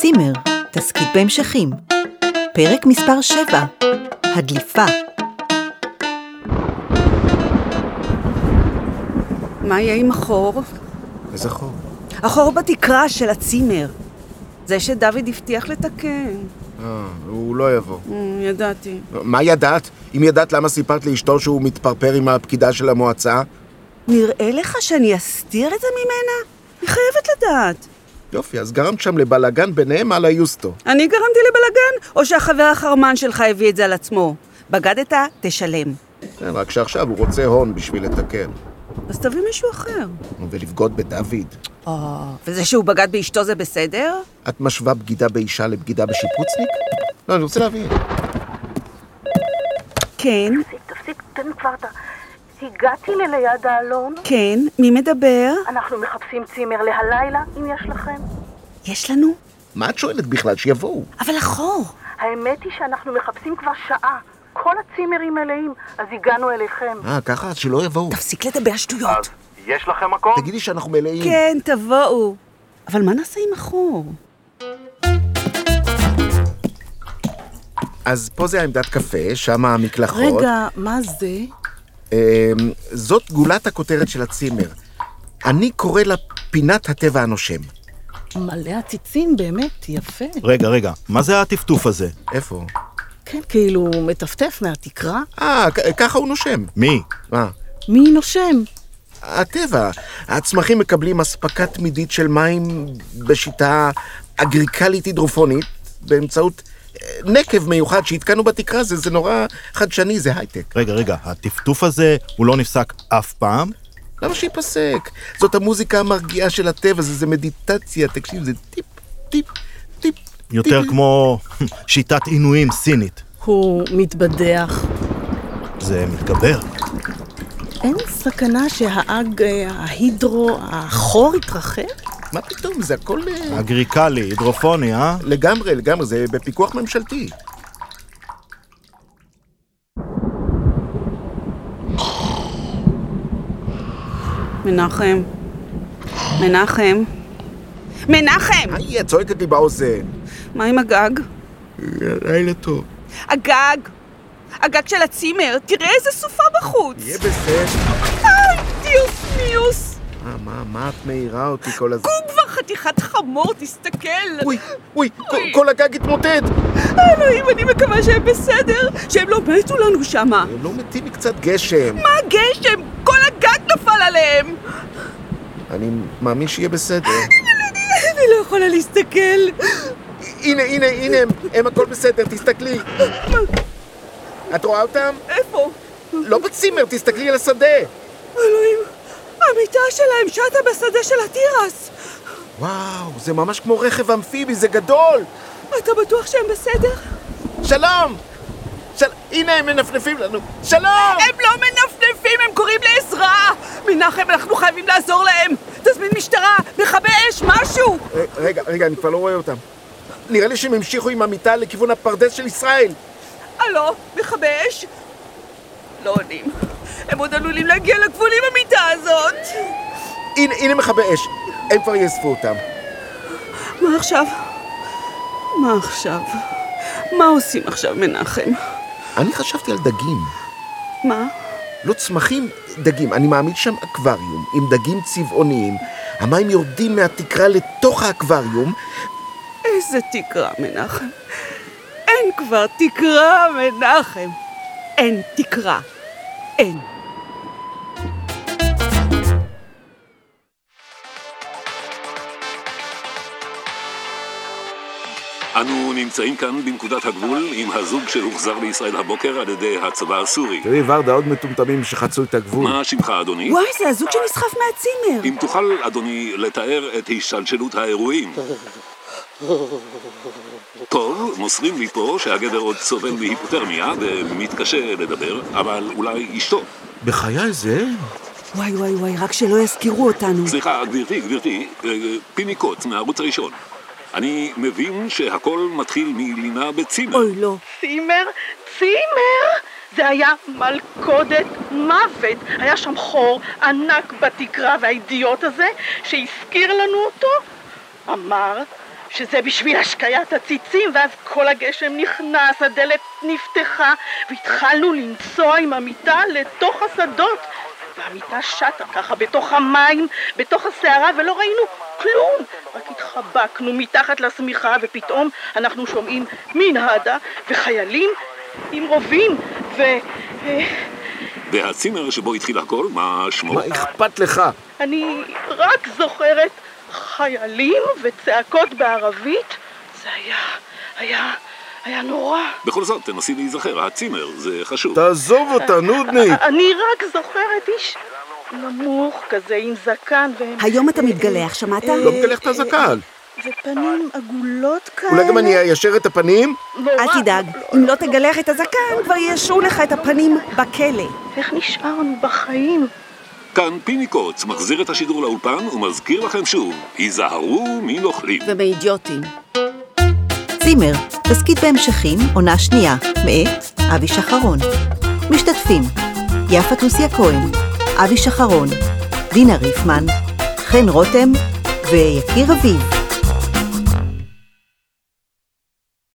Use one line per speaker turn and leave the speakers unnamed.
צימר, תסכית בהמשכים. פרק מספר 7, הדליפה.
מה יהיה עם החור?
איזה חור?
החור בתקרה של הצימר. זה שדוד הבטיח לתקן.
אה, הוא לא יבוא.
אמ, ידעתי.
מה ידעת? אם ידעת, למה סיפרת לאשתו שהוא מתפרפר עם הפקידה של המועצה?
נראה לך שאני אסתיר את זה ממנה? היא חייבת לדעת.
יופי, אז גרמת שם לבלאגן ביניהם על היוסטו.
אני גרמתי לבלגן, או שהחבר החרמן שלך הביא את זה על עצמו? בגדת, תשלם.
כן, רק שעכשיו הוא רוצה הון בשביל לתקן.
אז תביא מישהו אחר.
ולבגוד בדוד.
או, וזה שהוא בגד באשתו זה בסדר?
את משווה בגידה באישה לבגידה בשיפוצניק? לא, אני רוצה להבין.
כן,
תפסיק, תפסיק, תן כבר את ה... הגעתי לליד האלון,
כן, מי מדבר?
אנחנו מחפשים צימר להלילה, אם יש לכם.
יש לנו.
מה את שואלת בכלל? שיבואו.
אבל החור.
האמת היא שאנחנו מחפשים כבר שעה. כל הצימרים מלאים, אז הגענו אליכם.
אה, ככה? אז שלא יבואו.
תפסיק לדבר שטויות.
אז יש לכם מקום?
תגידי שאנחנו מלאים.
כן, תבואו. אבל מה נעשה עם החור?
אז פה זה העמדת קפה, שם המקלחות.
רגע, מה זה?
אמ, זאת גולת הכותרת של הצימר. אני קורא לה פינת הטבע הנושם.
מלא עציצים, באמת, יפה.
רגע, רגע, מה זה הטפטוף הזה?
איפה?
כן, כאילו, מטפטף מהתקרה.
אה, כ- ככה הוא נושם.
מי?
מה?
מי נושם?
הטבע. הצמחים מקבלים אספקה תמידית של מים בשיטה אגריקלית הידרופונית, באמצעות אה, נקב מיוחד שהתקנו בתקרה, זה, זה נורא חדשני, זה הייטק.
רגע, רגע, הטפטוף הזה, הוא לא נפסק אף פעם?
למה שייפסק? זאת המוזיקה המרגיעה של הטבע, זה, זה מדיטציה, תקשיב, זה טיפ, טיפ, טיפ.
יותר כמו שיטת עינויים סינית.
הוא מתבדח.
זה מתגבר.
אין סכנה שהאג, אה, ההידרו, החור יתרחב?
מה פתאום, זה הכל... אה,
אגריקלי, הידרופוני, אה?
לגמרי, לגמרי, זה בפיקוח ממשלתי.
מנחם. מנחם. מנחם!
מה היא? את צועקת לי באוזן.
מה עם הגג?
לילה טוב.
הגג! הגג של הצימר! תראה איזה סופה בחוץ!
יהיה בסדר.
דיוס מיוס!
מה, מה, מה את מעירה אותי כל הזמן?
הוא כבר חתיכת חמור, תסתכל!
אוי, אוי, כל- כל הגג התמוטט.
אלוהים, אני מקווה שהם בסדר! שהם לא מתו לנו שמה!
הם לא מתים מקצת גשם.
מה הגשם? כל הגג נפל עליהם!
אני מאמין שיהיה בסדר.
אני לא יכולה להסתכל!
הנה, הנה, הנה, הם, הם הכל בסדר, תסתכלי. את רואה אותם?
איפה?
לא בצימר, תסתכלי על השדה.
אלוהים, המיטה שלהם שטה בשדה של התירס!
וואו, זה ממש כמו רכב אמפיבי, זה גדול.
אתה בטוח שהם בסדר?
שלום! של... הנה, הם מנפנפים לנו. שלום!
הם לא מנפנפים, הם קוראים לעזרה! מנחם, אנחנו חייבים לעזור להם! תזמין משטרה, מכבי אש, משהו!
ר- רגע, רגע, אני כבר לא רואה אותם. נראה לי שהם המשיכו עם המיטה לכיוון הפרדס של ישראל.
הלו, מכבי אש? לא עונים. הם עוד עלולים להגיע לגבול עם המיטה הזאת!
הנה, הנה מכבי אש, הם כבר יאספו אותם.
מה עכשיו? מה עכשיו? מה עושים עכשיו, מנחם?
אני חשבתי על דגים.
מה?
לא צמחים, דגים. אני מעמיד שם אקווריום עם דגים צבעוניים. המים יורדים מהתקרה לתוך האקווריום.
איזה תקרה, מנחם. אין כבר תקרה, מנחם. אין תקרה. אין.
אנו נמצאים כאן בנקודת הגבול עם הזוג שהוחזר לישראל הבוקר על ידי הצבא הסורי.
תראי, ורדה, עוד מטומטמים שחצו את הגבול.
מה שמך, אדוני?
וואי, זה הזוג שנסחף מהצימר.
אם תוכל, אדוני, לתאר את השתלשלות האירועים. טוב, מוסרים לי פה שהגבר עוד סובל מהיפותרמיה ומתקשה לדבר, אבל אולי אשתו.
בחיי זה?
וואי, וואי, וואי, רק שלא יזכירו אותנו.
סליחה, גברתי, גברתי, אה, פיניקוט מהערוץ הראשון. אני מבין שהכל מתחיל מלינה בצימר.
אוי, לא.
צימר? צימר? זה היה מלכודת מוות. היה שם חור ענק בתקרה, והאידיוט הזה, שהזכיר לנו אותו, אמר שזה בשביל השקיית הציצים, ואז כל הגשם נכנס, הדלת נפתחה, והתחלנו לנסוע עם המיטה לתוך השדות. והמיטה שטה ככה בתוך המים, בתוך הסערה, ולא ראינו כלום. רק התחבקנו מתחת לשמיכה, ופתאום אנחנו שומעים מנהדה וחיילים עם רובים, ו... אה,
והצימר שבו התחיל הכל, מה שמו?
מה אכפת לך?
אני רק זוכרת חיילים וצעקות בערבית. זה היה, היה, היה נורא.
בכל זאת, תנסי להיזכר, הצימר זה חשוב.
תעזוב אותה, נודניק.
אני רק זוכרת איש נמוך כזה עם זקן אה, ו...
היום אתה מתגלח, שמעת?
לא מגלח את הזקן.
ופנים עגולות כאלה.
אולי גם אני איישר את הפנים?
נורא.
אל תדאג, אם לא תגלח את הזקן, כבר ישרו לך את הפנים בכלא.
איך נשארנו בחיים?
כאן פיניקוץ מחזיר את השידור לאולפן ומזכיר לכם שוב, היזהרו מנוכלים.
ומאידיוטים.
צימר, תסכית בהמשכים, עונה שנייה, מאת אבי שחרון. משתתפים יפה תוסיה כהן, אבי שחרון, דינה ריפמן, חן רותם ויקיר אביב.